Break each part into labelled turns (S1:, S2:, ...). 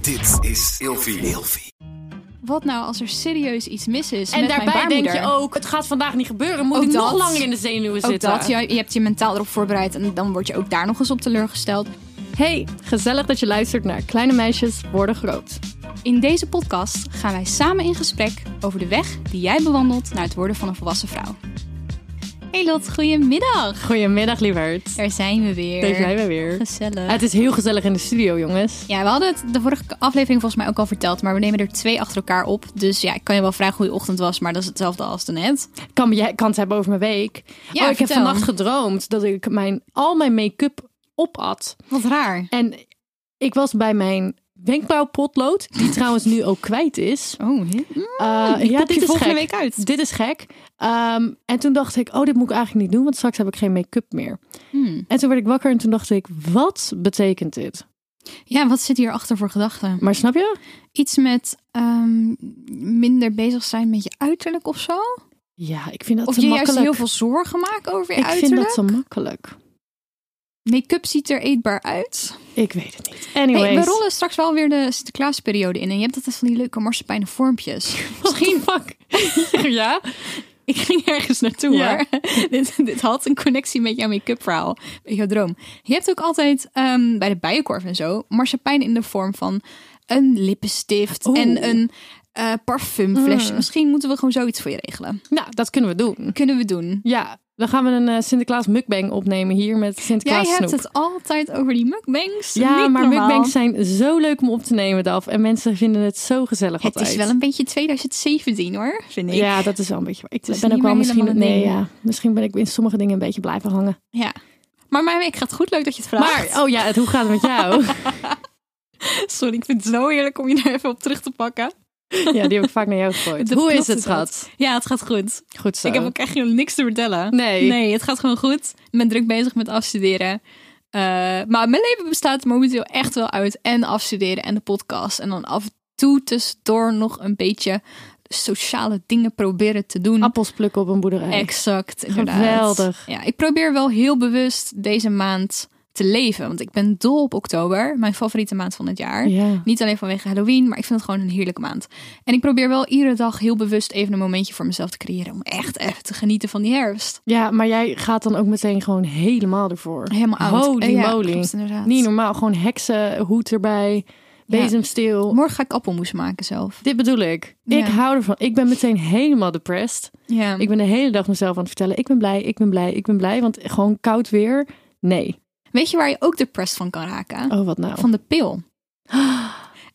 S1: Dit is Ilfie.
S2: Wat nou als er serieus iets mis is
S3: En
S2: met mijn
S3: daarbij denk
S2: baarmoeder?
S3: je ook, het gaat vandaag niet gebeuren. Moet
S2: Ook
S3: ik
S2: dat.
S3: nog langer in de zenuwen
S2: Ook
S3: zitten?
S2: dat, je, je hebt je mentaal erop voorbereid en dan word je ook daar nog eens op teleurgesteld.
S4: Hey, gezellig dat je luistert naar Kleine Meisjes Worden Groot.
S2: In deze podcast gaan wij samen in gesprek over de weg die jij bewandelt naar het worden van een volwassen vrouw. Hey Lot, goedemiddag!
S4: Goedemiddag, lieverd.
S2: Daar zijn we weer.
S4: Daar zijn we weer.
S2: Gezellig.
S4: Het is heel gezellig in de studio, jongens.
S2: Ja, we hadden het de vorige aflevering volgens mij ook al verteld, maar we nemen er twee achter elkaar op. Dus ja, ik kan je wel vragen hoe je ochtend was, maar dat is hetzelfde als de net.
S4: Ik kan, jij kan het hebben over mijn week.
S2: Ja,
S4: oh, ik
S2: vertel.
S4: heb vannacht gedroomd dat ik mijn, al mijn make-up opat.
S2: Wat raar.
S4: En ik was bij mijn wenkbrauwpotlood, die trouwens nu ook kwijt is.
S2: Oh, hè?
S4: Eh, ja,
S2: pop je
S4: dit is
S2: volgende
S4: gek.
S2: week uit.
S4: Dit is gek. Ehm, en toen dacht ik, oh, dit moet ik eigenlijk niet doen, want straks heb ik geen make-up meer.
S2: Hmm.
S4: En toen werd ik wakker en toen dacht ik, wat betekent dit?
S2: Ja, wat zit hier achter voor gedachten?
S4: Maar snap je?
S2: Iets met ehm, minder bezig zijn met je uiterlijk of zo?
S4: Ja, ik vind dat
S2: Of
S4: te
S2: je
S4: makkelijk.
S2: juist heel veel zorgen maken over je
S4: ik vind
S2: uiterlijk?
S4: dat te makkelijk.
S2: Make-up ziet er eetbaar uit.
S4: Ik weet het niet.
S2: Hey,
S4: Anyways.
S2: we rollen straks wel weer de Sinterklaasperiode in. En je hebt altijd van die leuke marsepijnen vormpjes.
S4: Misschien fuck. ja?
S2: Ik ging ergens naartoe
S4: Ja.
S2: hoor. dit, dit had een connectie met jouw make-up verhaal. Met jouw droom. Je hebt ook altijd ehm, bij de bijenkorf en zo... marsepijn in de vorm van een lippenstift
S4: Oeh.
S2: en een eh parfumflesje.
S4: Mm.
S2: Misschien moeten we gewoon zoiets voor je regelen.
S4: Nou, dat kunnen we doen.
S2: Kunnen we doen.
S4: Ja, dan gaan we een eh, Sinterklaas mukbang opnemen hier met
S2: Jij
S4: Sinterklaas
S2: hebt
S4: snoep.
S2: het altijd over die mukbangs.
S4: ja,
S2: Niet
S4: maar
S2: normaal.
S4: mukbangs zijn zo leuk om op te nemen, Daf. En mensen vinden het zo gezellig
S2: Het
S4: altijd.
S2: is wel een beetje 2017 hoor, vind ik.
S4: Ja, dat is wel een beetje... Ik
S2: is
S4: ben
S2: niet
S4: ook wel
S2: meer
S4: misschien...
S2: helemaal een
S4: Nee,
S2: ding.
S4: ja. Misschien ben ik in sommige dingen een beetje blijven hangen.
S2: Ja. Maar mijn week gaat goed, leuk dat je het vraagt.
S4: Maar, oh ja, het, hoe gaat het met jou?
S2: sorry, ik vind het zo heerlijk om je daar even op terug te pakken.
S4: ja, die heb ik vaak naar jou gegooid.
S2: De
S4: Hoe is
S2: plotse
S4: het, schat?
S2: Ja, het gaat goed.
S4: Goed zo.
S2: Ik heb ook echt helemaal niks te vertellen.
S4: Nee.
S2: Nee, het gaat gewoon goed. Ik ben druk bezig met afstuderen. Eh, maar mijn leven bestaat momenteel echt wel uit en afstuderen en de podcast. En dan af en toe tussendoor nog een beetje sociale dingen proberen te doen.
S4: Appels plukken op een boerderij.
S2: Exact, inderdaad.
S4: Geweldig.
S2: Ja, ik probeer wel heel bewust deze maand te leven. Want ik ben dol op oktober. Mijn favoriete maand van het jaar.
S4: Ja.
S2: Niet alleen vanwege Halloween, maar ik vind het gewoon een heerlijke maand. En ik probeer wel iedere dag heel bewust even een momentje voor mezelf te creëren. Om echt even te genieten van die herfst.
S4: Ja, maar jij gaat dan ook meteen gewoon helemaal ervoor.
S2: Helemaal oud.
S4: Holy
S2: Eh, ja,
S4: moly.
S2: klopt, inderdaad.
S4: Niet normaal, gewoon heksenhoed erbij, bezemsteel.
S2: Morgen ga ik appelmoes maken zelf.
S4: Dit bedoel ik.
S2: Ja.
S4: Ik hou ervan. Ik ben meteen helemaal depressed.
S2: Ja,
S4: Ik ben de hele dag mezelf aan het vertellen. Ik ben blij, ik ben blij, ik ben blij. Want gewoon koud weer, nee.
S2: Weet je waar je ook depressed van kan raken?
S4: Oh, wat nou?
S2: Van de pil.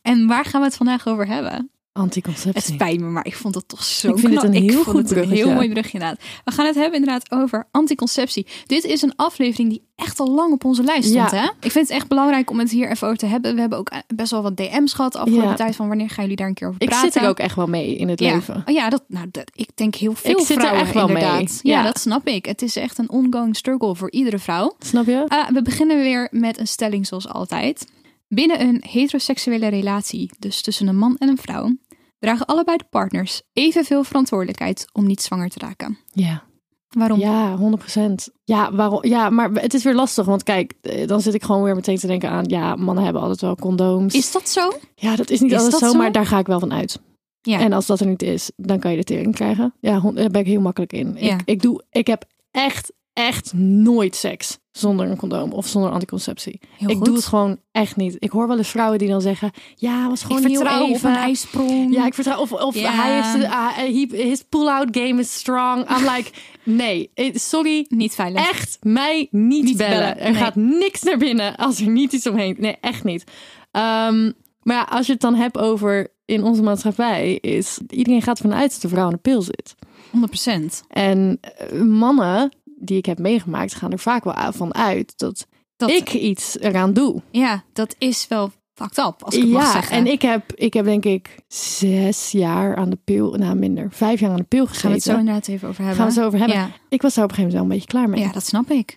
S2: En waar gaan we het vandaag over hebben? Het
S4: Anticonceptie.
S2: spijt me, maar ik vond het toch zo
S4: Ik vind het
S2: knap.
S4: een heel
S2: ik vond
S4: goed
S2: het een
S4: bruggetje.
S2: heel mooi brugje inderdaad. We gaan het hebben inderdaad over anticonceptie. Dit is een aflevering die echt al lang op onze lijst stond.
S4: Ja.
S2: Hè? Ik vind het echt belangrijk om het hier even over te hebben. We hebben ook eh, best wel wat DM's gehad de afgelopen
S4: Ja.
S2: tijd. Van wanneer gaan jullie daar een keer over
S4: Ik
S2: praten?
S4: zit er ook echt wel mee in het
S2: ja.
S4: leven.
S2: Oh ja, dat, nou, dat, ik denk heel veel
S4: Ik zit er
S2: vrouwen
S4: echt wel mee.
S2: inderdaad. Ja.
S4: Ja.
S2: dat snap ik. Het is echt een ongoing struggle voor iedere vrouw.
S4: Snap je?
S2: Eh, we beginnen weer met een stelling zoals altijd. Binnen een heteroseksuele relatie, dus tussen een man en een vrouw, dragen allebei de partners evenveel verantwoordelijkheid om niet zwanger te raken.
S4: Ja.
S2: Waarom?
S4: Ja, 100%. Ja, waarom? ja, maar het is weer lastig. Want kijk, eh, dan zit ik gewoon weer meteen te denken aan... Ja, mannen hebben altijd wel condooms.
S2: Is dat zo?
S4: Ja, dat is niet
S2: Is
S4: alles
S2: dat
S4: zo,
S2: zo?
S4: maar daar ga ik wel van uit.
S2: Ja.
S4: En als dat er niet is, dan kan je de tering krijgen. Ja, hon- daar ben ik heel makkelijk in.
S2: Ja.
S4: Ik, ik, doe, ik heb echt, echt nooit seks zonder een condoom of zonder anticonceptie.
S2: Heel
S4: ik
S2: goed.
S4: doe het gewoon echt niet. Ik hoor wel eens vrouwen die dan zeggen, ja, was gewoon
S2: ik vertrouw
S4: heel
S2: op
S4: even.
S2: een ijsprong.
S4: ja, ik vertrouw. Of, of
S2: Ja.
S4: hij heeft, ah, he- his pull-out game is strong. I'm like, nee, eh, sorry,
S2: Niet veilig.
S4: echt mij niet,
S2: Niet
S4: bellen.
S2: bellen,
S4: Er
S2: nee.
S4: gaat niks naar binnen als er niet iets omheen. Nee, echt niet. Ehm, maar ja, als je het dan hebt over in onze maatschappij, is iedereen gaat ervan uit dat de vrouw aan de pil zit.
S2: 100%.
S4: En eh, mannen die ik heb meegemaakt, gaan er vaak wel a- van uit dat,
S2: Dat,
S4: ik iets eraan doe.
S2: Ja, dat is wel fucked up, als ik het mag
S4: ja,
S2: zeggen.
S4: en ik heb, ik heb denk ik zes jaar aan de pil, nou minder, vijf jaar aan de pil gezeten.
S2: Gaan we het zo inderdaad even over hebben.
S4: Gaan we het zo over hebben.
S2: Ja.
S4: Ik was daar op een gegeven moment wel een beetje klaar mee.
S2: Ja, dat snap ik.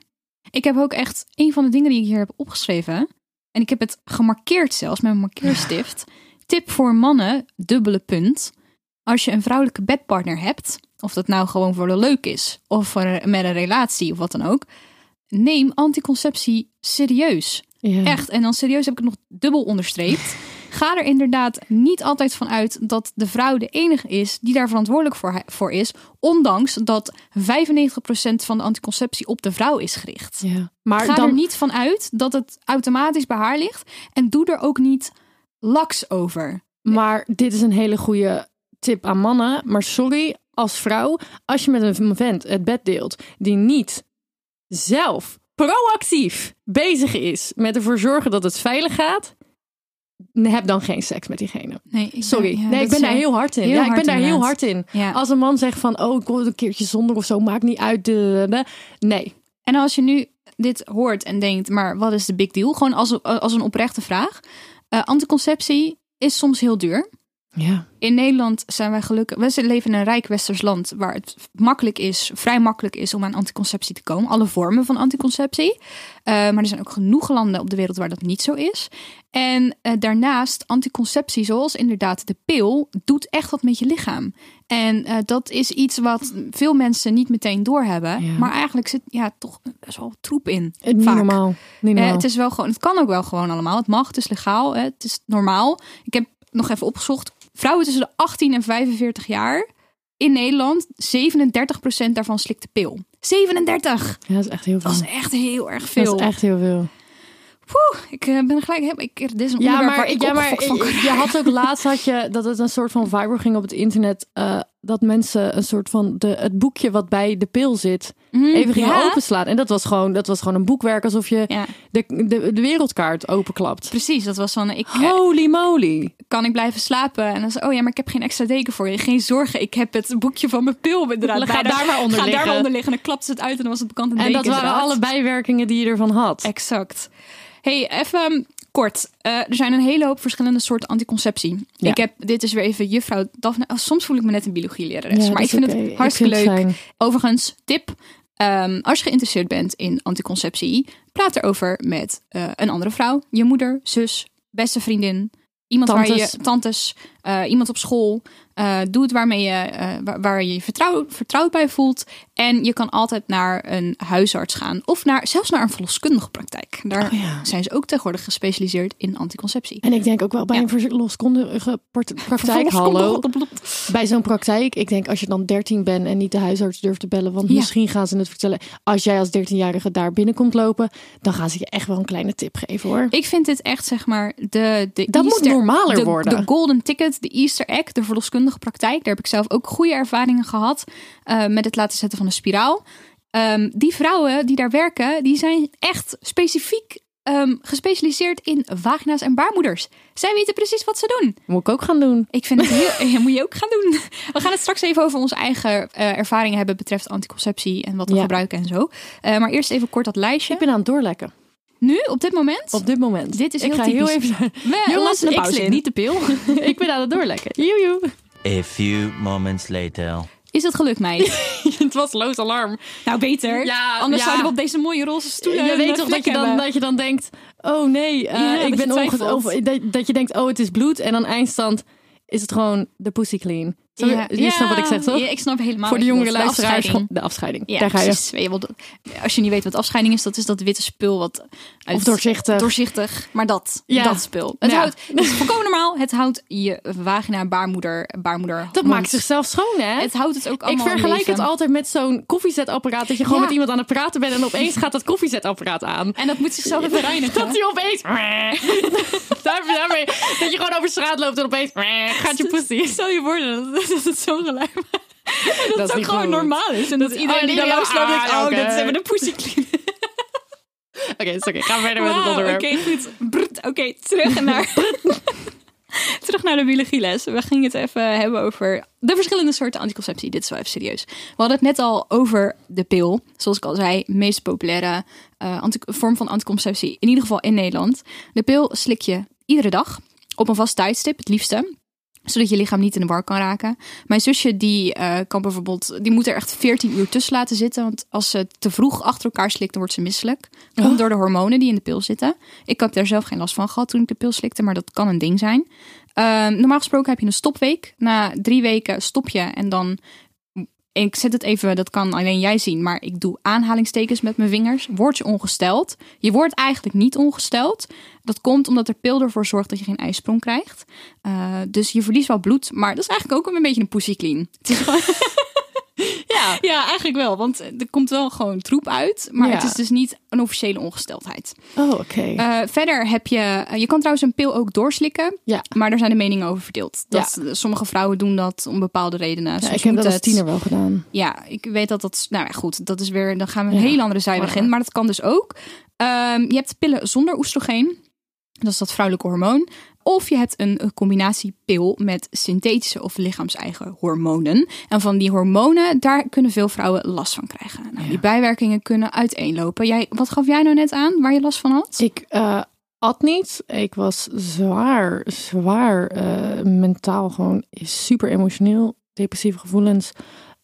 S2: Ik heb ook echt een van de dingen die ik hier heb opgeschreven. En ik heb het gemarkeerd zelfs met een markeerstift. Tip voor mannen, dubbele punt. Als je een vrouwelijke bedpartner hebt, of dat nou gewoon voor de leuk is, of voor een- met een relatie of wat dan ook, neem anticonceptie serieus.
S4: Ja. Mhm.
S2: Echt. En dan serieus heb ik het nog dubbel onderstreept. Ga er inderdaad niet altijd van uit dat de vrouw de enige is die daar verantwoordelijk voor, voor is. Ondanks dat 95% van de anticonceptie op de vrouw is gericht.
S4: Ja. Maar
S2: Ga
S4: dan,
S2: er niet van uit dat het automatisch bij haar ligt. En doe er ook niet laks over.
S4: maar dit is een hele goede tip aan mannen. Maar sorry, als vrouw, als je met een vent het bed deelt die niet zelf proactief bezig is met ervoor zorgen dat het veilig gaat, heb dan geen seks met diegene.
S2: Nee, ik
S4: Sorry. nee, ik ben daar heel hard in.
S2: heel
S4: ja, ik
S2: hard
S4: ben daar heel
S2: inderdaad.
S4: hard in.
S2: Ja.
S4: Als een man zegt van, oh, ik wil een keertje zonder of zo, maakt niet uit. de- de- de. Nee.
S2: En als je nu dit hoort en denkt, maar wat is de big deal? Gewoon als, als een oprechte vraag. Eh, anticonceptie is soms heel duur.
S4: Ja.
S2: In Nederland zijn wij gelukkig. We leven in een rijk westers land waar het makkelijk is, vrij makkelijk is om aan anticonceptie te komen. Alle vormen van anticonceptie. Eh, maar er zijn ook genoeg landen op de wereld waar dat niet zo is. En eh, daarnaast, anticonceptie, zoals inderdaad de pil, doet echt wat met je lichaam. En eh, dat is iets wat veel mensen niet meteen doorhebben.
S4: Ja.
S2: Maar eigenlijk zit ja, toch best wel troep in.
S4: Eh, Niet
S2: Vaak.
S4: normaal. Niet
S2: Eh,
S4: normaal.
S2: het is wel gewoon, het kan ook wel gewoon allemaal. Het mag, het is legaal, hè, het is normaal. Ik heb nog even opgezocht. Vrouwen tussen de 18 en 45 jaar in Nederland, 37% daarvan slikt de pil. 37!
S4: ja, dat is echt heel veel.
S2: Dat is echt heel erg
S4: Dat is
S2: veel.
S4: echt heel veel.
S2: Poeh, ik eh, ben gelijk. heb- Ik, dit is een onderwerp waar ik
S4: ja, maar
S2: opgefokt van kan
S4: je had ook laatst had je dat het een soort van viral ging op het internet. eh, dat mensen een soort van de, het boekje wat bij de pil zit,
S2: Mm,
S4: even gingen
S2: ja.
S4: openslaan. En dat was gewoon, dat was gewoon een boekwerk alsof je
S2: Ja,
S4: de, de, de wereldkaart openklapt.
S2: precies. Dat was van, ik,
S4: Oh.
S2: eh,
S4: Holy moly.
S2: kan ik blijven slapen? En dan zei, oh ja, maar ik heb geen extra deken voor je. Geen zorgen, ik heb het boekje van mijn pil inderdaad.
S4: Ga
S2: bij de-
S4: daar maar onder
S2: Ga daar maar
S4: liggen.
S2: onder liggen. En dan klapte ze het uit en dan was het bekant een
S4: En
S2: deken
S4: dat waren
S2: inderdaad.
S4: alle bijwerkingen die je ervan had.
S2: Exact. Hey, even um, kort. Eh, er zijn een hele hoop verschillende soorten anticonceptie.
S4: Ja.
S2: Ik heb, dit is weer even juffrouw Daphne. oh, soms voel ik me net een biologielerares,
S4: Ja,
S2: maar
S4: dat
S2: ik
S4: is
S2: vind
S4: oké.
S2: het hartstikke
S4: Ik vind het
S2: leuk.
S4: fijn.
S2: Overigens, tip. ehm, als je geïnteresseerd bent in anticonceptie, praat erover met eh, een andere vrouw. Je moeder, zus, beste vriendin, iemand waar
S4: Tantes.
S2: je tantes, eh, iemand op school. Eh, doe het waarmee je, eh, waar, waar je je vertrouw, vertrouwd bij voelt. En je kan altijd naar een huisarts gaan. Of naar, zelfs naar een verloskundige praktijk. Daar
S4: Oh ja.
S2: zijn ze ook tegenwoordig gespecialiseerd in anticonceptie.
S4: En ik denk ook wel bij
S2: Ja.
S4: een verloskundige part- praktijk. Hallo. Bij zo'n praktijk, ik denk als je dan 13 bent en niet de huisarts durft te bellen, want
S2: Ja.
S4: misschien gaan ze het vertellen. Als jij als 13-jarige daar binnenkomt lopen, dan gaan ze je echt wel een kleine tip geven hoor.
S2: Ik vind dit echt, zeg maar, de, de
S4: Dat moet
S2: Easter-
S4: normaler
S2: de,
S4: worden.
S2: De golden ticket, de Easter egg, de verloskundige praktijk. Daar heb ik zelf ook goede ervaringen gehad eh, met het laten zetten van een spiraal. Ehm, die vrouwen die daar werken, die zijn echt specifiek ehm, gespecialiseerd in vagina's en baarmoeders. Zij weten precies wat ze doen.
S4: Moet ik ook gaan doen.
S2: Ik vind het heel... ja, moet je ook gaan doen. We gaan het straks even over onze eigen eh, ervaringen hebben... betreft anticonceptie en wat we
S4: Ja.
S2: gebruiken en zo. Eh, maar eerst even kort dat lijstje.
S4: Ik ben aan het doorlekken.
S2: Nu, op dit moment...
S4: Op dit moment.
S2: Dit is
S4: ik
S2: heel
S4: ga heel
S2: typisch.
S4: even.
S2: we
S4: Jongens,
S2: laten de
S4: ik
S2: pauze
S4: slik
S2: in.
S4: niet de pil. ik ben aan het doorlekken. Joejoe.
S1: A few moments later.
S2: Is het gelukt, meid?
S4: het was loos alarm.
S2: nou, beter.
S4: Ja,
S2: Anders
S4: ja.
S2: zouden we op deze mooie roze stoelen...
S4: je
S2: een
S4: weet toch
S2: vlek
S4: dat je, dan,
S2: hebben.
S4: dat je dan denkt, oh nee, eh,
S2: Ja,
S4: ik
S2: dat je
S4: ben onge-
S2: twijfelt.
S4: of dat, dat je denkt, oh het is bloed. En dan eindstand is het gewoon de pussy clean. Zo,
S2: Ja.
S4: Je snapt wat ik zeg, toch?
S2: Ja, ik snap helemaal
S4: Voor de
S2: wat je
S4: jongere
S2: bedoelt.
S4: luisteraars,
S2: afscheiding.
S4: gewoon- de afscheiding.
S2: Ja,
S4: Daar ga je.
S2: precies. Je wilt- Als je niet weet wat afscheiding is, dat is dat witte spul wat uit...
S4: Of doorzichtig.
S2: doorzichtig, maar dat,
S4: Ja.
S2: dat spul. Het
S4: Ja.
S2: houdt, het is volkomen normaal. Het houdt je vagina, baarmoeder, baarmoeder.
S4: dat
S2: mond.
S4: maakt zichzelf schoon, hè?
S2: Het houdt het ook
S4: ik
S2: allemaal. in
S4: vergelijk het
S2: leven.
S4: altijd met zo'n koffiezetapparaat. Dat je gewoon
S2: Ja.
S4: met iemand aan het praten bent en opeens gaat dat koffiezetapparaat aan.
S2: En dat moet zichzelf even reinigen.
S4: Dat hij opeens... Daar- daarmee- dat je gewoon over straat loopt en opeens... Gaat je pussy.
S2: Stel je voor dat, dat het zo geluid maakt. Dat,
S4: is
S2: het ook
S4: niet
S2: gewoon
S4: goed.
S2: normaal is. En dat, iedereen die
S4: oh, nee,
S2: daar langs loopt,
S4: ah,
S2: denkt, oh,
S4: oké.
S2: dat is even de pussy clean.
S4: Oké, is oké. Ga verder met het
S2: Wauw, Oké,
S4: onderwerp.
S2: goed. Brrt, Oké, terug naar... terug naar de biologieles. We gingen het even hebben over de verschillende soorten anticonceptie. Dit is wel even serieus. We hadden het net al over de pil. Zoals ik al zei, meest populaire eh, anti- vorm van anticonceptie. In ieder geval in Nederland. De pil slik je iedere dag. Op een vast tijdstip, het liefste zodat je lichaam niet in de war kan raken. Mijn zusje die eh, kan bijvoorbeeld, die moet er echt 14 uur tussen laten zitten. Want als ze te vroeg achter elkaar slikt, dan wordt ze misselijk. Komt door de hormonen die in de pil zitten. Ik heb daar zelf geen last van gehad toen ik de pil slikte, maar dat kan een ding zijn. Ehm, normaal gesproken heb je een stopweek. Na drie weken stop je en dan ik zet het even, dat kan alleen jij zien, maar ik doe aanhalingstekens met mijn vingers. Word je ongesteld? Je wordt eigenlijk niet ongesteld. Dat komt omdat er pil ervoor zorgt dat je geen ijsprong krijgt. Eh, dus je verliest wel bloed, maar dat is eigenlijk ook een beetje een pussyclean. Het is gewoon... ja. ja, eigenlijk wel, want er komt wel gewoon troep uit, maar
S4: Ja.
S2: het is dus niet een officiële ongesteldheid.
S4: Oh, oké.
S2: Eh, verder heb je, eh, je kan trouwens een pil ook doorslikken,
S4: ja.
S2: maar daar zijn de meningen over verdeeld. Dat, Sommige vrouwen doen dat om bepaalde redenen.
S4: Ja,
S2: Soms
S4: ik heb
S2: moet
S4: dat als
S2: het-
S4: tiener wel gedaan.
S2: ja, ik weet dat dat. Nou ja, goed, dat is weer. Dan gaan we een
S4: Ja.
S2: hele andere zijweg in. Maar dat kan dus ook. Ehm, je hebt pillen zonder oestrogeen. Dat is dat vrouwelijke hormoon. Of je hebt een eh, combinatiepil met synthetische of lichaams-eigen hormonen. En van die hormonen, daar kunnen veel vrouwen last van krijgen. Nou, Die bijwerkingen kunnen uiteenlopen. Jij, wat gaf jij nou net aan waar je last van had?
S4: Ik eh, at niet. Ik was zwaar, zwaar eh, mentaal gewoon super emotioneel. Depressieve gevoelens,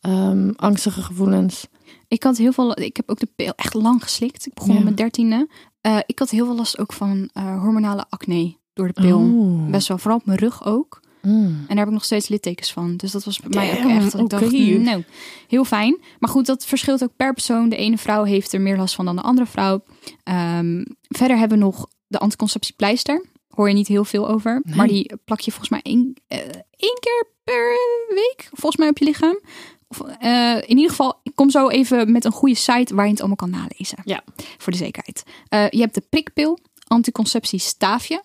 S4: ehm, angstige gevoelens.
S2: Ik had heel veel. Ik heb ook de pil echt lang geslikt. Ik begon
S4: Ja.
S2: op mijn dertiende. Eh, ik had heel veel last ook van eh, hormonale acne door de pil.
S4: Oh.
S2: Best wel, vooral op mijn rug ook.
S4: Mm.
S2: En daar heb ik nog steeds littekens van. Dus dat was bij mij ook
S4: Damn,
S2: echt. dat Ik dacht,
S4: oké.
S2: nou, heel fijn. Maar goed, dat verschilt ook per persoon. De ene vrouw heeft er meer last van dan de andere vrouw. Ehm, verder hebben we nog de anticonceptiepleister. Hoor je niet heel veel over.
S4: Nee.
S2: Maar die plak je volgens mij één, eh, één keer per week. Volgens mij op je lichaam. Of, eh, in ieder geval, ik kom zo even met een goede site waar je het allemaal kan nalezen.
S4: Ja.
S2: Voor de zekerheid. Eh, je hebt de prikpil, anticonceptiestaafje.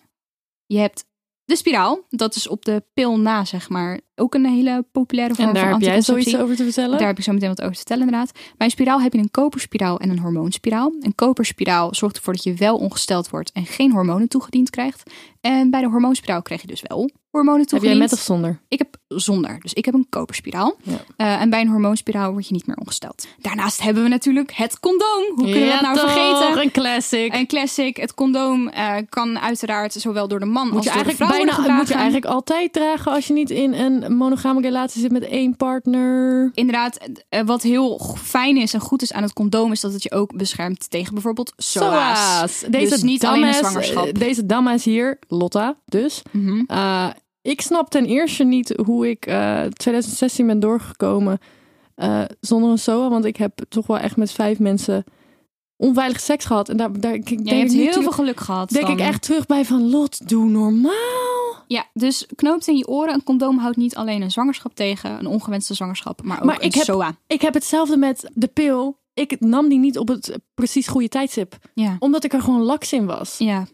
S2: Je hebt de spiraal. Dat is op de pil na, zeg maar. Ook een hele populaire vorm
S4: En daar
S2: van
S4: heb jij
S2: anticonceptie.
S4: zoiets over te vertellen?
S2: Daar heb ik zo meteen wat over te vertellen, inderdaad. Bij een spiraal heb je een koperspiraal en een hormoonspiraal. Een koperspiraal zorgt ervoor dat je wel ongesteld wordt en geen hormonen toegediend krijgt. En bij de hormoonspiraal krijg je dus wel hormonen
S4: heb jij
S2: toegediend.
S4: met of zonder?
S2: Ik heb zonder, dus ik heb een koperspiraal.
S4: Ja.
S2: Eh, en bij een hormoonspiraal word je niet meer ongesteld. Daarnaast hebben we natuurlijk het condoom. Hoe kunnen we dat nou vergeten?
S4: Een classic.
S2: Een classic, het condoom eh, kan uiteraard zowel door de man
S4: moet
S2: als
S4: je,
S2: door de
S4: eigenlijk
S2: vrouw worden
S4: bijna, moet je
S2: gedragen.
S4: eigenlijk altijd dragen als je niet in een monogame relatie zit met één partner.
S2: Inderdaad, eh, wat heel g- fijn is en goed is aan het condoom... is dat het je ook beschermt tegen bijvoorbeeld SOA's.
S4: Zoals. Deze
S2: Dus niet alleen een
S4: dames-
S2: zwangerschap.
S4: eh, Deze dames hier, Lotta dus.
S2: Mhm.
S4: Eh, ik snap ten eerste niet hoe ik eh, 2016 ben doorgekomen eh, zonder een SOA. Want ik heb toch wel echt met vijf mensen onveilig seks gehad. En daar, daar ik denk
S2: Ja, je hebt
S4: ik nu
S2: heel
S4: terug-
S2: veel geluk gehad.
S4: denk
S2: dan.
S4: ik echt terug bij van Lot, doe normaal.
S2: Ja, dus knoopt in je oren. Een condoom houdt niet alleen een zwangerschap tegen, een ongewenste zwangerschap, maar ook
S4: Maar
S2: een
S4: ik heb-
S2: SOA.
S4: Ik heb hetzelfde met de pil. Ik nam die niet op het eh, precies goede tijdstip.
S2: Ja.
S4: Omdat ik er gewoon laks in was.
S2: ja,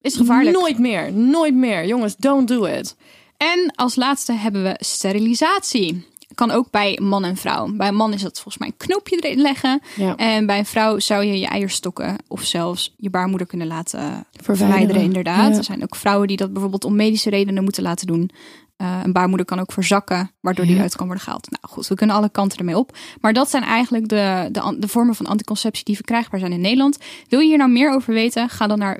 S2: is gevaarlijk.
S4: Nooit meer. Nooit meer. Jongens, don't do it.
S2: En als laatste hebben we sterilisatie. Kan ook bij man en vrouw. Bij een man is dat volgens mij een knoopje erin leggen.
S4: Ja.
S2: En bij een vrouw zou je je eierstokken of zelfs je baarmoeder kunnen laten
S4: Verwijderen.
S2: verwijderen. Inderdaad.
S4: Ja.
S2: Er zijn ook vrouwen die dat bijvoorbeeld om medische redenen moeten laten doen. Eh, een baarmoeder kan ook verzakken, waardoor die
S4: Ja.
S2: uit kan worden gehaald. Nou goed, we kunnen alle kanten ermee op. Maar dat zijn eigenlijk de, de, an- de vormen van anticonceptie die verkrijgbaar zijn in Nederland. Wil je hier nou meer over weten? Ga dan naar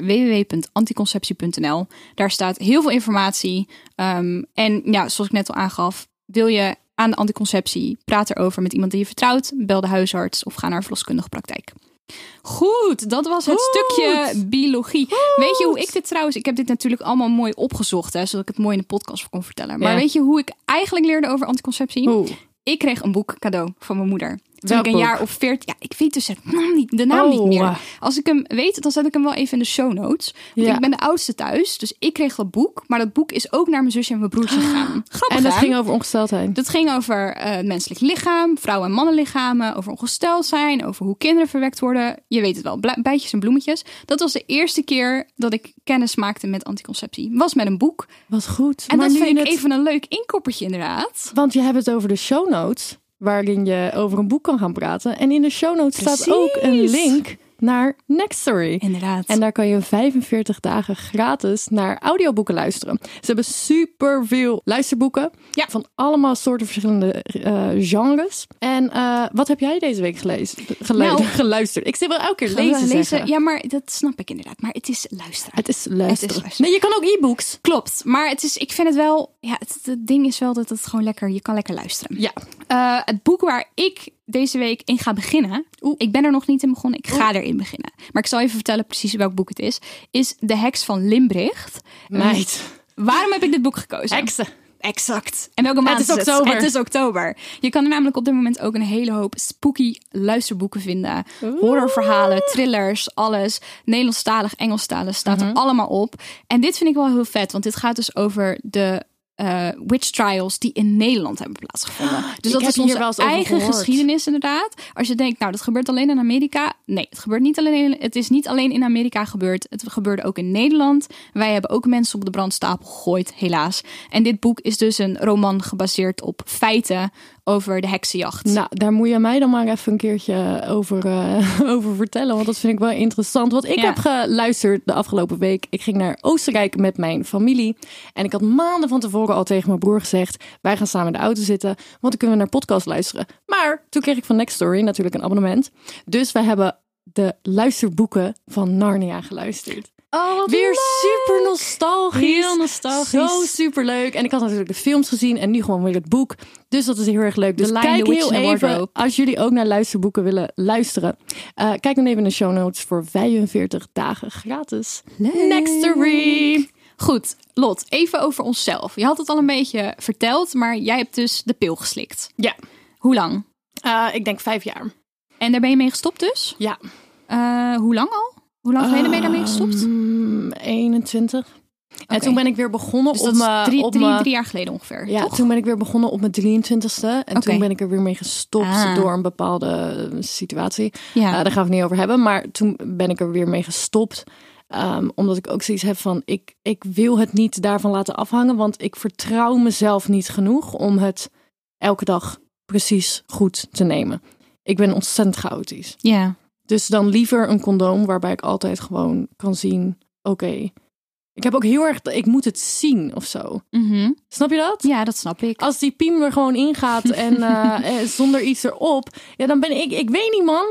S2: www.anticonceptie.nl. Daar staat heel veel informatie. Ehm, en ja, zoals ik net al aangaf, wil je aan de anticonceptie, praat erover met iemand die je vertrouwt. Bel de huisarts of ga naar een verloskundige praktijk. Goed, dat was het
S4: Goed.
S2: stukje biologie. Weet je hoe ik dit trouwens... Ik heb dit natuurlijk allemaal mooi opgezocht, hè, zodat ik het mooi in de podcast kon vertellen. Maar
S4: Ja.
S2: weet je hoe ik eigenlijk leerde over anticonceptie?
S4: Oeh.
S2: Ik kreeg een boek cadeau van mijn moeder. Toen
S4: Welk
S2: ik een
S4: boek?
S2: jaar of veertien... Ja, ik weet dus het naam niet, de naam niet
S4: Oh.
S2: meer. Als ik hem weet, dan zet ik hem wel even in de show notes. Want
S4: Ja.
S2: ik ben de oudste thuis, dus ik kreeg dat boek. Maar dat boek is ook naar mijn zusje en mijn
S4: Ah,
S2: broertje gegaan. Grappig,
S4: En dat
S2: hè?
S4: ging over ongesteldheid.
S2: Dat ging over eh, het menselijk lichaam, vrouwen- en mannenlichamen, over ongesteld zijn, over hoe kinderen verwekt worden. Je weet het wel, bla- bijtjes en bloemetjes. Dat was de eerste keer dat ik kennis maakte met anticonceptie. Was met een boek.
S4: Wat goed.
S2: En
S4: maar
S2: dat
S4: nu
S2: vind
S4: je
S2: ik
S4: het-
S2: even een leuk inkoppertje inderdaad.
S4: Want je hebt het over de show notes, waarin je over een boek kan gaan praten. En in de show notes staat ook een
S2: Precies.
S4: link naar Nextory.
S2: Inderdaad.
S4: En daar kan je 45 dagen gratis naar audioboeken luisteren. Ze hebben superveel luisterboeken
S2: Ja.
S4: van allemaal soorten verschillende eh, genres. En eh, wat heb jij deze week gelezen? Gelu-
S2: Nou-
S4: geluisterd. Ik zit wel elke keer
S2: Gaan we
S4: lezen, zeggen.
S2: Ja, maar dat snap ik inderdaad. Maar het is luisteren.
S4: Het is luisteren.
S2: luisteren.
S4: Nee, je kan ook e-books.
S2: Klopt, maar het is, ik vind het wel. Ja, het, het ding is wel dat het gewoon lekker. Je kan lekker luisteren.
S4: Ja.
S2: Eh, het boek waar ik deze week in ga beginnen. Ik ben er nog niet in begonnen. Ik ga erin beginnen. Maar ik zal even vertellen precies welk boek het is. Is De Heks van Limbricht.
S4: Meid.
S2: Waarom heb ik dit boek gekozen?
S4: Heksen.
S2: Exact. En welke maand
S4: is oktober.
S2: Het is oktober. Je kan namelijk op dit moment ook een hele hoop spooky luisterboeken vinden. Horrorverhalen, thrillers, alles. Nederlandstalig, Engelstalig staat
S4: Mhm.
S2: er allemaal op. En dit vind ik wel heel vet, want dit gaat dus over de eh, witch trials die in Nederland hebben plaatsgevonden. Dus dat
S4: Ah, heb
S2: is
S4: hier
S2: onze
S4: wel eens over
S2: eigen
S4: gehoord.
S2: geschiedenis inderdaad. Als je denkt, nou dat gebeurt alleen in Amerika. Nee, het gebeurt niet alleen. Het is niet alleen in Amerika gebeurd. Het gebeurde ook in Nederland. Wij hebben ook mensen op de brandstapel gegooid, helaas. En dit boek is dus een roman gebaseerd op feiten over de heksenjacht.
S4: Nou, daar moet je mij dan maar even een keertje over, eh, over vertellen. Want dat vind ik wel interessant. Wat ik
S2: Ja.
S4: heb geluisterd de afgelopen week. Ik ging naar Oostenrijk met mijn familie. En ik had maanden van tevoren al tegen mijn broer gezegd... wij gaan samen in de auto zitten, want dan kunnen we naar podcast luisteren. Maar toen kreeg ik van Next Story natuurlijk een abonnement. Dus we hebben de luisterboeken van Narnia geluisterd.
S2: oh,
S4: Weer super nostalgisch.
S2: Heel nostalgisch.
S4: Zo super leuk. En ik had natuurlijk de films gezien en nu gewoon weer het boek. Dus dat is heel erg leuk. Dus
S2: The Lion,
S4: kijk
S2: the Witch
S4: heel
S2: and the
S4: even,
S2: Wardrobe.
S4: als jullie ook naar luisterboeken willen luisteren. eh, kijk dan even in de show notes voor 45 dagen gratis. Next to read.
S2: Goed, Lot, even over onszelf. Je had het al een beetje verteld, maar jij hebt dus de pil geslikt.
S4: Ja,
S2: Hoe lang?
S4: eh, ik denk vijf jaar.
S2: En daar ben je mee gestopt dus?
S4: Ja.
S2: Eh, hoe lang al? Hoe lang geleden ben je daarmee gestopt?
S4: Mm, 21. En
S2: Oké.
S4: toen ben ik weer begonnen
S2: dus
S4: op
S2: dat is
S4: mijn-
S2: drie,
S4: op
S2: drie,
S4: mijn-
S2: drie jaar geleden ongeveer,
S4: Ja,
S2: toch?
S4: toen ben ik weer begonnen op mijn 23ste. En toen
S2: Oké.
S4: ben ik er weer mee gestopt
S2: Ah.
S4: door een bepaalde eh, situatie.
S2: Ja.
S4: Eh, daar gaan we het niet over hebben. Maar toen ben ik er weer mee gestopt. Ehm, omdat ik ook zoiets heb van, ik, ik wil het niet daarvan laten afhangen. Want ik vertrouw mezelf niet genoeg om het elke dag precies goed te nemen. Ik ben ontzettend chaotisch.
S2: ja.
S4: Dus dan liever een condoom waarbij ik altijd gewoon kan zien, oké. Ik heb ook heel erg, ik moet het zien of zo.
S2: Mhm.
S4: Snap je dat?
S2: ja, dat snap ik.
S4: Als die piem er gewoon ingaat en eh, eh, zonder iets erop. Ja, dan ben ik, ik weet niet man.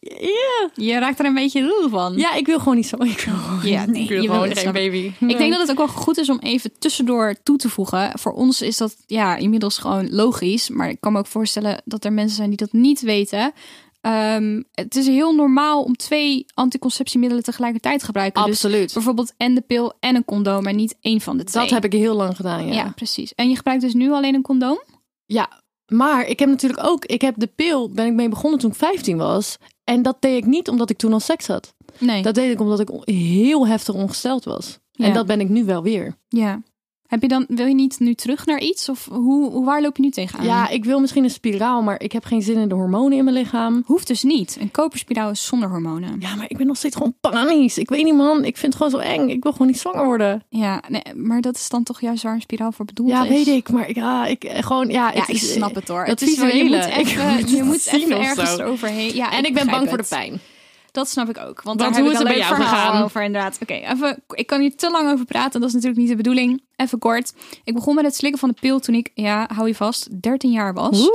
S4: Ja.
S2: Je raakt er een beetje ruw van.
S4: Ja, ik wil gewoon niet zo. Ik wil gewoon,
S2: Hm? Ja, nee,
S4: ik wil
S2: je wil
S4: gewoon
S2: het,
S4: geen
S2: snap ik.
S4: baby.
S2: Ik denk dat het ook wel goed is om even tussendoor toe te voegen. Voor ons is dat ja, inmiddels gewoon logisch. Maar ik kan me ook voorstellen dat er mensen zijn die dat niet weten. Ehm, het is heel normaal om twee anticonceptiemiddelen tegelijkertijd te gebruiken.
S4: Absoluut.
S2: Dus bijvoorbeeld en de pil en een condoom, maar niet één van de twee.
S4: dat heb ik heel lang gedaan, ja.
S2: Ja,
S4: ja.
S2: precies. En je gebruikt dus nu alleen een condoom?
S4: Maar ik heb natuurlijk ook, ik heb de pil, ben ik mee begonnen toen ik 15 was. En dat deed ik niet omdat ik toen al seks had.
S2: Nee.
S4: Dat deed ik omdat ik on- heel heftig ongesteld was. En
S2: Ja.
S4: dat ben ik nu wel weer.
S2: Ja. Heb je dan, wil je niet nu terug naar iets? Of hoe, hoe- waar loop je nu tegenaan?
S4: Ja, ik wil misschien een spiraal, maar ik heb geen zin in de hormonen in mijn lichaam.
S2: Hoeft dus niet. Een koperspiraal is zonder hormonen.
S4: Ja, maar ik ben nog steeds gewoon panisch. Ik weet niet, man. Ik vind het gewoon zo eng. Ik wil gewoon niet zwanger worden.
S2: Ja, nee, maar dat is dan toch juist waar een spiraal voor bedoeld
S4: Ja,
S2: is?
S4: weet ik. Maar ik, ja, ik eh, gewoon, ja.
S2: Ja,
S4: het
S2: ik
S4: is- eh,
S2: snap het hoor.
S4: dat
S2: het is wel, je moet
S4: visuele. Ik
S2: even,
S4: moet
S2: je
S4: het
S2: moet
S4: zien
S2: even
S4: of
S2: ergens
S4: zo.
S2: overheen. Ja,
S4: En ik ben
S2: begrijp
S4: bang voor de
S2: het.
S4: pijn.
S2: Dat snap ik ook. Want,
S4: Want
S2: daar
S4: hoe
S2: heb
S4: is
S2: ik
S4: het
S2: alleen
S4: bij jou
S2: verhaal
S4: gegaan?
S2: over inderdaad. Oké, even. ik kan hier te lang over praten. Dat is natuurlijk niet de bedoeling. Even kort. Ik begon met het slikken van de pil toen ik, ja, hou je vast, 13 jaar was.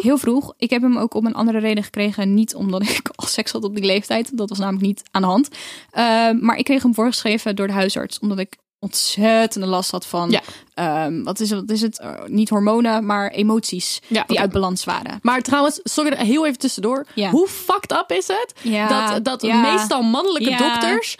S2: Heel vroeg. Ik heb hem ook om een andere reden gekregen. Niet omdat ik al seks had op die leeftijd. Dat was namelijk niet aan de hand. Eh, maar ik kreeg hem voorgeschreven door de huisarts. Omdat ik ontzettende last had van...
S4: Ja.
S2: ehm, wat, is, het- wat is het? Eh, niet hormonen, maar emoties
S4: Ja,
S2: die
S4: oké.
S2: uit balans waren.
S4: Maar trouwens, sorry, heel even tussendoor.
S2: Ja.
S4: Hoe fucked up is het
S2: Ja,
S4: dat, dat
S2: ja.
S4: meestal mannelijke
S2: Ja.
S4: dokters,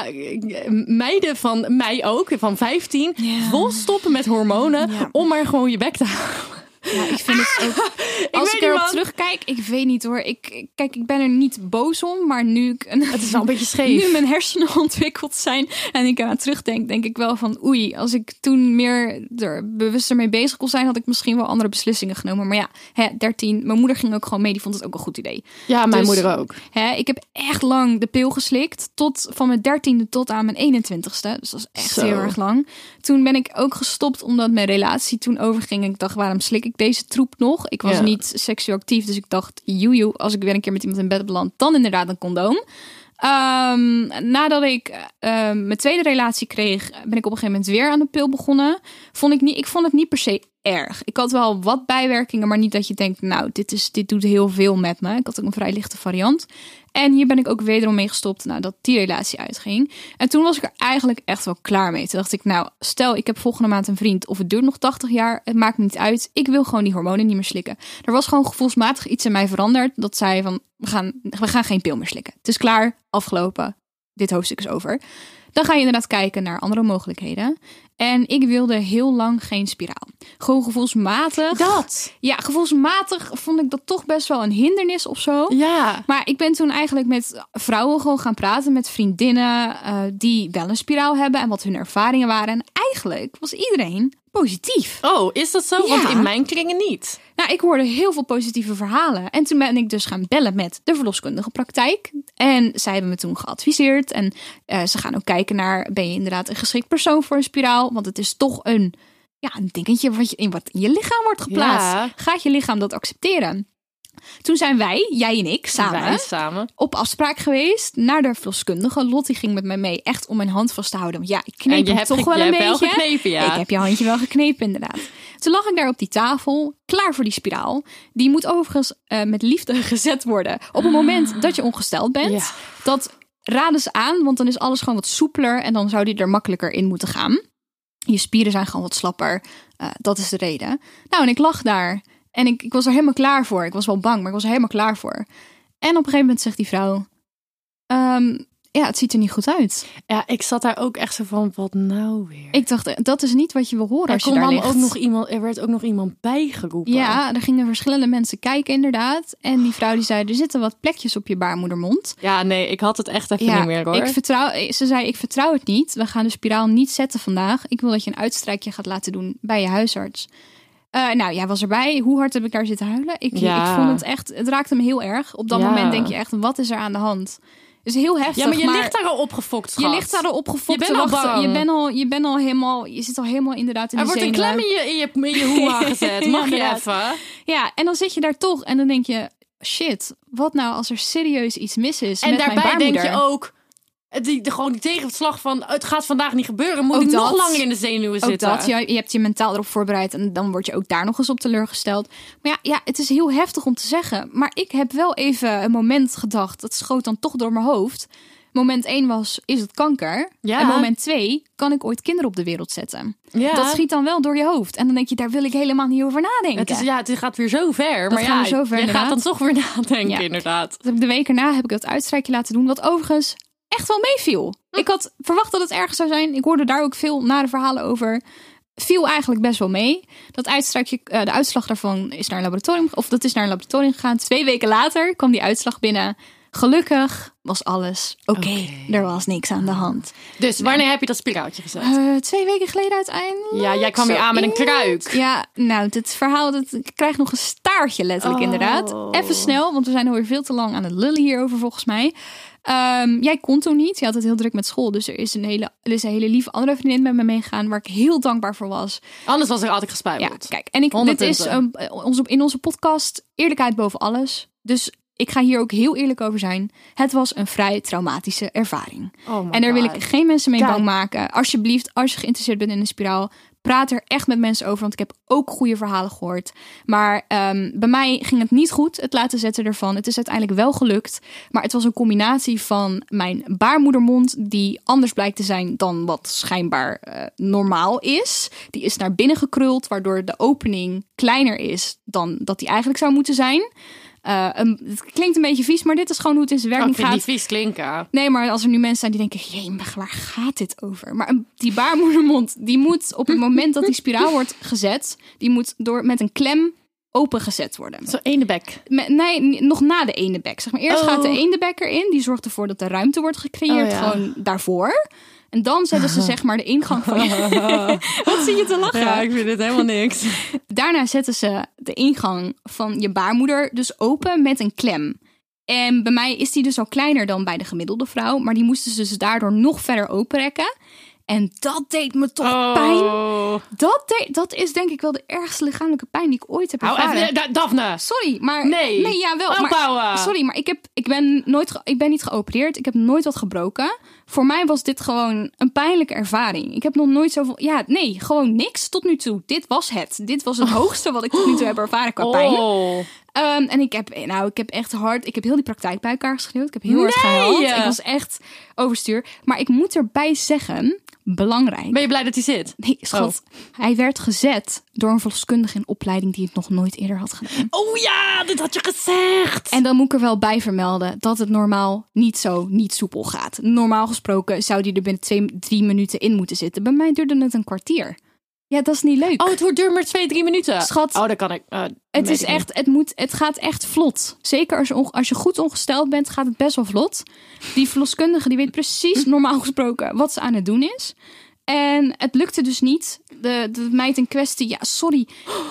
S4: eh, meiden van mij ook, van 15, vol stoppen met hormonen
S2: Ja.
S4: om maar gewoon je bek te houden.
S2: Ja, ik vind het ook. als
S4: Ah! weet
S2: ik
S4: niet,
S2: erop
S4: man.
S2: terugkijk, ik weet niet hoor. Ik, ik- kijk, ik ben er niet boos om, maar nu ik
S4: Het is wel een beetje scheef.
S2: nu mijn hersenen ontwikkeld zijn en ik eraan terugdenk, denk ik wel van oei, als ik toen meer er bewuster mee bezig kon zijn, had ik misschien wel andere beslissingen genomen. Maar ja, hè, 13, mijn moeder ging ook gewoon mee, die vond het ook een goed idee.
S4: Ja, mijn
S2: Dus-
S4: moeder ook.
S2: Hè, ik heb echt lang de pil geslikt. Tot van mijn dertiende tot aan mijn 21ste. Dus dat is echt
S4: Zo.
S2: heel erg lang. Toen ben ik ook gestopt omdat mijn relatie toen overging. En ik dacht, waarom slik ik deze troep nog? Ik was
S4: Ja.
S2: niet seksueel actief. Dus ik dacht, joejoe, als ik weer een keer met iemand in bed beland, dan inderdaad een condoom. Ehm, nadat ik ehm, mijn tweede relatie kreeg, ben ik op een gegeven moment weer aan de pil begonnen. Vond ik, niet, ik vond het niet per se erg. Ik had wel wat bijwerkingen, maar niet dat je denkt, nou, dit, is, dit doet heel veel met me. Ik had ook een vrij lichte variant. En hier ben ik ook wederom mee gestopt nadat nou, die relatie uitging. En toen was ik er eigenlijk echt wel klaar mee. Toen dacht ik, nou, stel ik heb volgende maand een vriend of het duurt nog 80 jaar, het maakt me niet uit. Ik wil gewoon die hormonen niet meer slikken. Er was gewoon gevoelsmatig iets in mij veranderd dat zei van, we gaan, we gaan geen pil meer slikken. Het is klaar, afgelopen, dit hoofdstuk is over. Dan ga je inderdaad kijken naar andere mogelijkheden. En ik wilde heel lang geen spiraal. gewoon gevoelsmatig.
S4: Dat.
S2: Ja, gevoelsmatig vond ik dat toch best wel een hindernis of zo.
S4: Ja.
S2: Maar ik ben toen eigenlijk met vrouwen gewoon gaan praten, met vriendinnen eh, die wel een spiraal hebben en wat hun ervaringen waren. En eigenlijk was iedereen positief.
S4: Oh, is dat zo?
S2: Ja.
S4: Want in mijn kringen niet.
S2: Nou, ik hoorde heel veel positieve verhalen. En toen ben ik dus gaan bellen met de verloskundige praktijk. En zij hebben me toen geadviseerd. En eh, ze gaan ook kijken naar, ben je inderdaad een geschikt persoon voor een spiraal? Want het is toch een, ja, een dingetje wat, je, in, wat in je lichaam wordt geplaatst.
S4: Ja.
S2: Gaat je lichaam dat accepteren? Toen zijn wij, jij en ik, samen
S4: Wij samen.
S2: op afspraak geweest naar de verloskundige. Lottie ging met mij mee, echt om mijn hand vast te houden. Want ja, ik kneep
S4: En je
S2: hem
S4: hebt
S2: toch
S4: ge-
S2: wel
S4: je
S2: een
S4: hebt wel
S2: beetje.
S4: geknepen, ja.
S2: Ik heb je handje wel geknepen, inderdaad. Toen lag ik daar op die tafel, klaar voor die spiraal. Die moet overigens eh, met liefde gezet worden. Op het moment dat je ongesteld bent,
S4: Ah. Ja.
S2: dat raden ze aan, want dan is alles gewoon wat soepeler en dan zou die er makkelijker in moeten gaan. Je spieren zijn gewoon wat slapper. Eh, dat is de reden. Nou, en ik lag daar. En ik, ik was er helemaal klaar voor. Ik was wel bang, maar ik was er helemaal klaar voor. En op een gegeven moment zegt die vrouw... "Ehm, ja, het ziet er niet goed uit.
S4: Ja, ik zat daar ook echt zo van, wat nou weer?
S2: Ik dacht, eh, dat is niet wat je wil horen
S4: er,
S2: als je
S4: kon
S2: daar
S4: dan
S2: ligt.
S4: ook nog iemand, er werd ook nog iemand bijgeroepen.
S2: ja, er gingen verschillende mensen kijken inderdaad. En die vrouw die zei, er zitten wat plekjes op je baarmoedermond.
S4: ja, nee, ik had het echt even niet meer hoor.
S2: ik vertrouw, ze zei, ik vertrouw het niet. We gaan de spiraal niet zetten vandaag. Ik wil dat je een uitstrijkje gaat laten doen bij je huisarts. Eh, nou, jij was erbij. Hoe hard heb ik daar zitten huilen? Ik,
S4: Ja.
S2: ik vond het echt, het raakte me heel erg. Op dat
S4: Ja.
S2: moment denk je echt, wat is er aan de hand? Het is heel heftig.
S4: ja, maar je ligt daar al opgefokt,
S2: Je
S4: schat.
S2: ligt daar al opgefokt
S4: Je
S2: te
S4: bent al
S2: wachten.
S4: bang.
S2: Je bent al, je bent al helemaal, je zit al helemaal inderdaad in
S4: Er
S2: de
S4: wordt een
S2: zenuwen.
S4: klem in je, in je, in je hoera gezet.
S2: Ja,
S4: Mag je
S2: inderdaad.
S4: even?
S2: Ja, en dan zit je daar toch en dan denk je, shit, wat nou als er serieus iets mis is
S4: En
S2: met mijn
S4: daarbij denk
S2: baarmoeder?
S4: je ook... Die, de, gewoon die tegenslag van het gaat vandaag niet gebeuren. Moet
S2: Ook
S4: ik nog
S2: dat.
S4: langer in de zenuwen
S2: Ook
S4: zitten?
S2: dat, ja, je hebt je mentaal erop voorbereid en dan word je ook daar nog eens op teleurgesteld. Maar ja, ja, het is heel heftig om te zeggen. Maar ik heb wel even een moment gedacht, dat schoot dan toch door mijn hoofd. Moment 1 was, is het kanker?
S4: Ja.
S2: En moment 2, kan ik ooit kinderen op de wereld zetten?
S4: Ja.
S2: Dat schiet dan wel door je hoofd. En dan denk je, daar wil ik helemaal niet over nadenken.
S4: Het, is, ja, het gaat weer zo ver. maar
S2: gaat
S4: ja,
S2: weer zo ver,
S4: je gaat dan
S2: inderdaad.
S4: toch weer nadenken,
S2: Ja.
S4: inderdaad.
S2: Dat heb ik de week erna heb ik dat uitstrijkje laten doen, wat overigens echt wel meeviel. Ik had verwacht dat het erg zou zijn. Ik hoorde daar ook veel nare verhalen over. Viel eigenlijk best wel mee. Dat uitstrijkje, eh, de uitslag daarvan is naar een laboratorium, of dat is naar een laboratorium gegaan. Twee weken later kwam die uitslag binnen. Gelukkig was alles oké. Er was niks aan de hand.
S4: Dus wanneer heb je dat spiraaltje gezet?
S2: Eh, twee weken geleden uiteindelijk.
S4: Ja, jij kwam weer aan met een
S2: Zoiets.
S4: kruik.
S2: Ja, nou, dit verhaal, dat, ik krijg nog een staartje letterlijk
S4: Oh.
S2: inderdaad. Even snel, want we zijn alweer veel te lang aan het lullen hierover volgens mij. Ehm, jij kon toen niet, je had het heel druk met school. Dus er is een hele, er is een hele lieve andere vriendin met me meegegaan... waar ik heel dankbaar voor was.
S4: Anders was er altijd
S2: Ja,
S4: gespuild.
S2: kijk, en ik,
S4: 100
S2: dit is
S4: punten.
S2: ehm, onze, in onze podcast eerlijkheid boven alles. Dus ik ga hier ook heel eerlijk over zijn. Het was een vrij traumatische ervaring.
S4: Oh my
S2: En daar wil
S4: God.
S2: ik geen mensen mee
S4: Kijk.
S2: bang maken. Alsjeblieft, als je geïnteresseerd bent in een spiraal, praat er echt met mensen over. Want ik heb ook goede verhalen gehoord. Maar ehm, bij mij ging het niet goed, het laten zetten ervan. Het is uiteindelijk wel gelukt. Maar het was een combinatie van mijn baarmoedermond, die anders blijkt te zijn dan wat schijnbaar eh, normaal is. Die is naar binnen gekruld, waardoor de opening kleiner is dan dat die eigenlijk zou moeten zijn. Eh, een- het klinkt een beetje vies, maar dit is gewoon hoe het in zijn
S4: Oh, ik
S2: werking
S4: vind
S2: gaat.
S4: die vies klinken.
S2: Nee, maar als er nu mensen zijn die denken: jee, maar waar gaat dit over? Maar een- die baarmoedermond, die moet op het moment dat die spiraal wordt gezet, die moet door met een klem opengezet worden.
S4: Zo ene bek.
S2: Me- nee, n- nog na de ene bek. Zeg maar. Eerst
S4: Oh.
S2: gaat de ene bek erin, die zorgt ervoor dat de ruimte wordt gecreëerd,
S4: Oh, ja.
S2: gewoon daarvoor. En dan zetten ze zeg maar de ingang van je. Wat zie je te lachen?
S4: Ja, ik vind dit helemaal niks.
S2: Daarna zetten ze de ingang van je baarmoeder dus open met een klem. En bij mij is die dus al kleiner dan bij de gemiddelde vrouw. Maar die moesten ze dus daardoor nog verder openrekken. En dat deed me toch pijn.
S4: Oh.
S2: Dat, deed, dat is denk ik wel de ergste lichamelijke pijn die ik ooit heb
S4: Hou
S2: ervaren.
S4: even, Da- Daphne.
S2: Sorry, maar...
S4: Nee.
S2: Nee, ja, wel.
S4: Ophouden.
S2: Maar, sorry, maar ik, heb, ik, ben nooit ge- ik ben niet geopereerd. Ik heb nooit wat gebroken. Voor mij was dit gewoon een pijnlijke ervaring. Ik heb nog nooit zoveel... Ja, nee, gewoon niks tot nu toe. Dit was het. Dit was het hoogste wat ik tot nu toe heb ervaren qua pijn.
S4: Oh.
S2: Ehm, en ik heb, nou, ik heb echt hard... Ik heb heel die praktijk bij elkaar geschreeuwd. Ik heb heel hard
S4: Nee.
S2: gehuild. Ik was echt overstuur. Maar ik moet erbij zeggen, belangrijk...
S4: Ben je blij dat hij zit?
S2: Nee, schat.
S4: Oh.
S2: Hij werd gezet door een verloskundige in opleiding die het nog nooit eerder had gedaan.
S4: Oh ja, dit had je gezegd.
S2: En dan moet ik er wel bij vermelden dat het normaal niet zo niet soepel gaat. Normaal gesproken zou die er binnen twee, drie minuten in moeten zitten. Bij mij duurde het een kwartier. Ja, dat is niet leuk.
S4: Oh, het wordt duur maar twee, drie minuten.
S2: Schat.
S4: Oh, dat kan ik. eh,
S2: het,
S4: weet
S2: is
S4: ik niet.
S2: echt, het, moet, het gaat echt vlot. Zeker als je, onge- als je goed ongesteld bent, gaat het best wel vlot. Die verloskundige die weet precies, normaal gesproken, wat ze aan het doen is. En het lukte dus niet. De, de meid in kwestie, ja, sorry.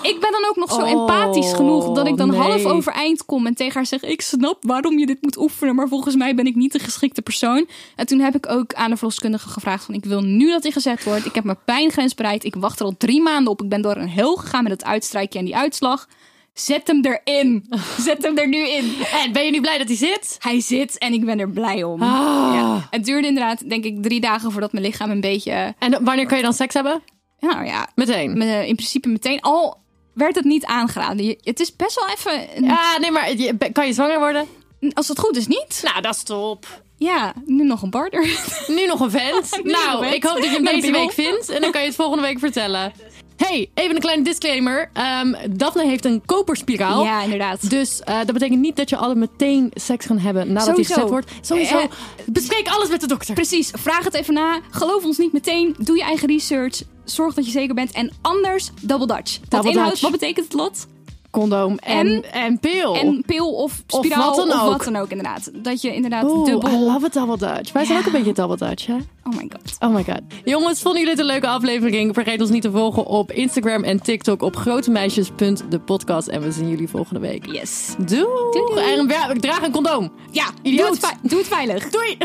S2: Ik ben dan ook nog zo
S4: Oh,
S2: empathisch genoeg dat ik dan
S4: nee.
S2: half overeind kom en tegen haar zeg: Ik snap waarom je dit moet oefenen, maar volgens mij ben ik niet de geschikte persoon. En toen heb ik ook aan de verloskundige gevraagd: van, Ik wil nu dat hij gezet wordt. Ik heb mijn pijngrens bereikt. Ik wacht er al drie maanden op. Ik ben door een hel gegaan met het uitstrijkje en die uitslag. Zet hem erin. Zet hem er nu in.
S4: En ben je nu blij dat hij zit?
S2: Hij zit en ik ben er blij om.
S4: Ah.
S2: Ja. Het duurde inderdaad, denk ik, drie dagen voordat mijn lichaam een beetje. eh,
S4: En wanneer kan je dan seks hebben?
S2: Nou ja,
S4: Meteen.
S2: me- in principe meteen. Al werd het niet aangeraden. Je- Het is best wel even. een-
S4: Ja, nee, maar je- be- kan je zwanger worden?
S2: Als het goed is, niet.
S4: Nou, dat is top.
S2: Ja, nu nog een partner.
S4: Nu nog een vent.
S2: Nu nog
S4: nou,
S2: een vent.
S4: ik hoop dat je hem
S2: Met een
S4: deze week
S2: piemel.
S4: vindt. En dan kan je het volgende week vertellen. Hey, even een kleine disclaimer. Ehm Daphne heeft een koperspiraal.
S2: Ja, inderdaad.
S4: Dus eh, dat betekent niet dat je alle meteen seks gaan hebben nadat
S2: Sowieso.
S4: hij gezet wordt. Sowieso.
S2: Eh,
S4: bespreek alles met de dokter.
S2: Precies, vraag het even na. Geloof ons niet meteen. Doe je eigen research. Zorg dat je zeker bent. En anders, double dutch. Wat
S4: Double
S2: inhoudt,
S4: Dutch.
S2: wat betekent het lot?
S4: Condoom en, en,
S2: En-
S4: pil.
S2: En pil of
S4: Of
S2: spiraal
S4: wat dan ook.
S2: wat dan ook, inderdaad. Dat je inderdaad
S4: Oeh, I
S2: dubbel...
S4: love a double dutch. Wij zijn
S2: Ja.
S4: ook een beetje double dutch, hè?
S2: Oh my god.
S4: Oh my god. Jongens, vonden jullie het een leuke aflevering? Vergeet ons niet te volgen op Instagram en TikTok op grotemeisjes.depodcast. En we zien jullie volgende week.
S2: Yes.
S4: Doei!
S2: Doei, doei.
S4: En ja, draag een condoom.
S2: Ja, doe
S4: Idioot.
S2: het, ve- doe het veilig.
S4: Doei!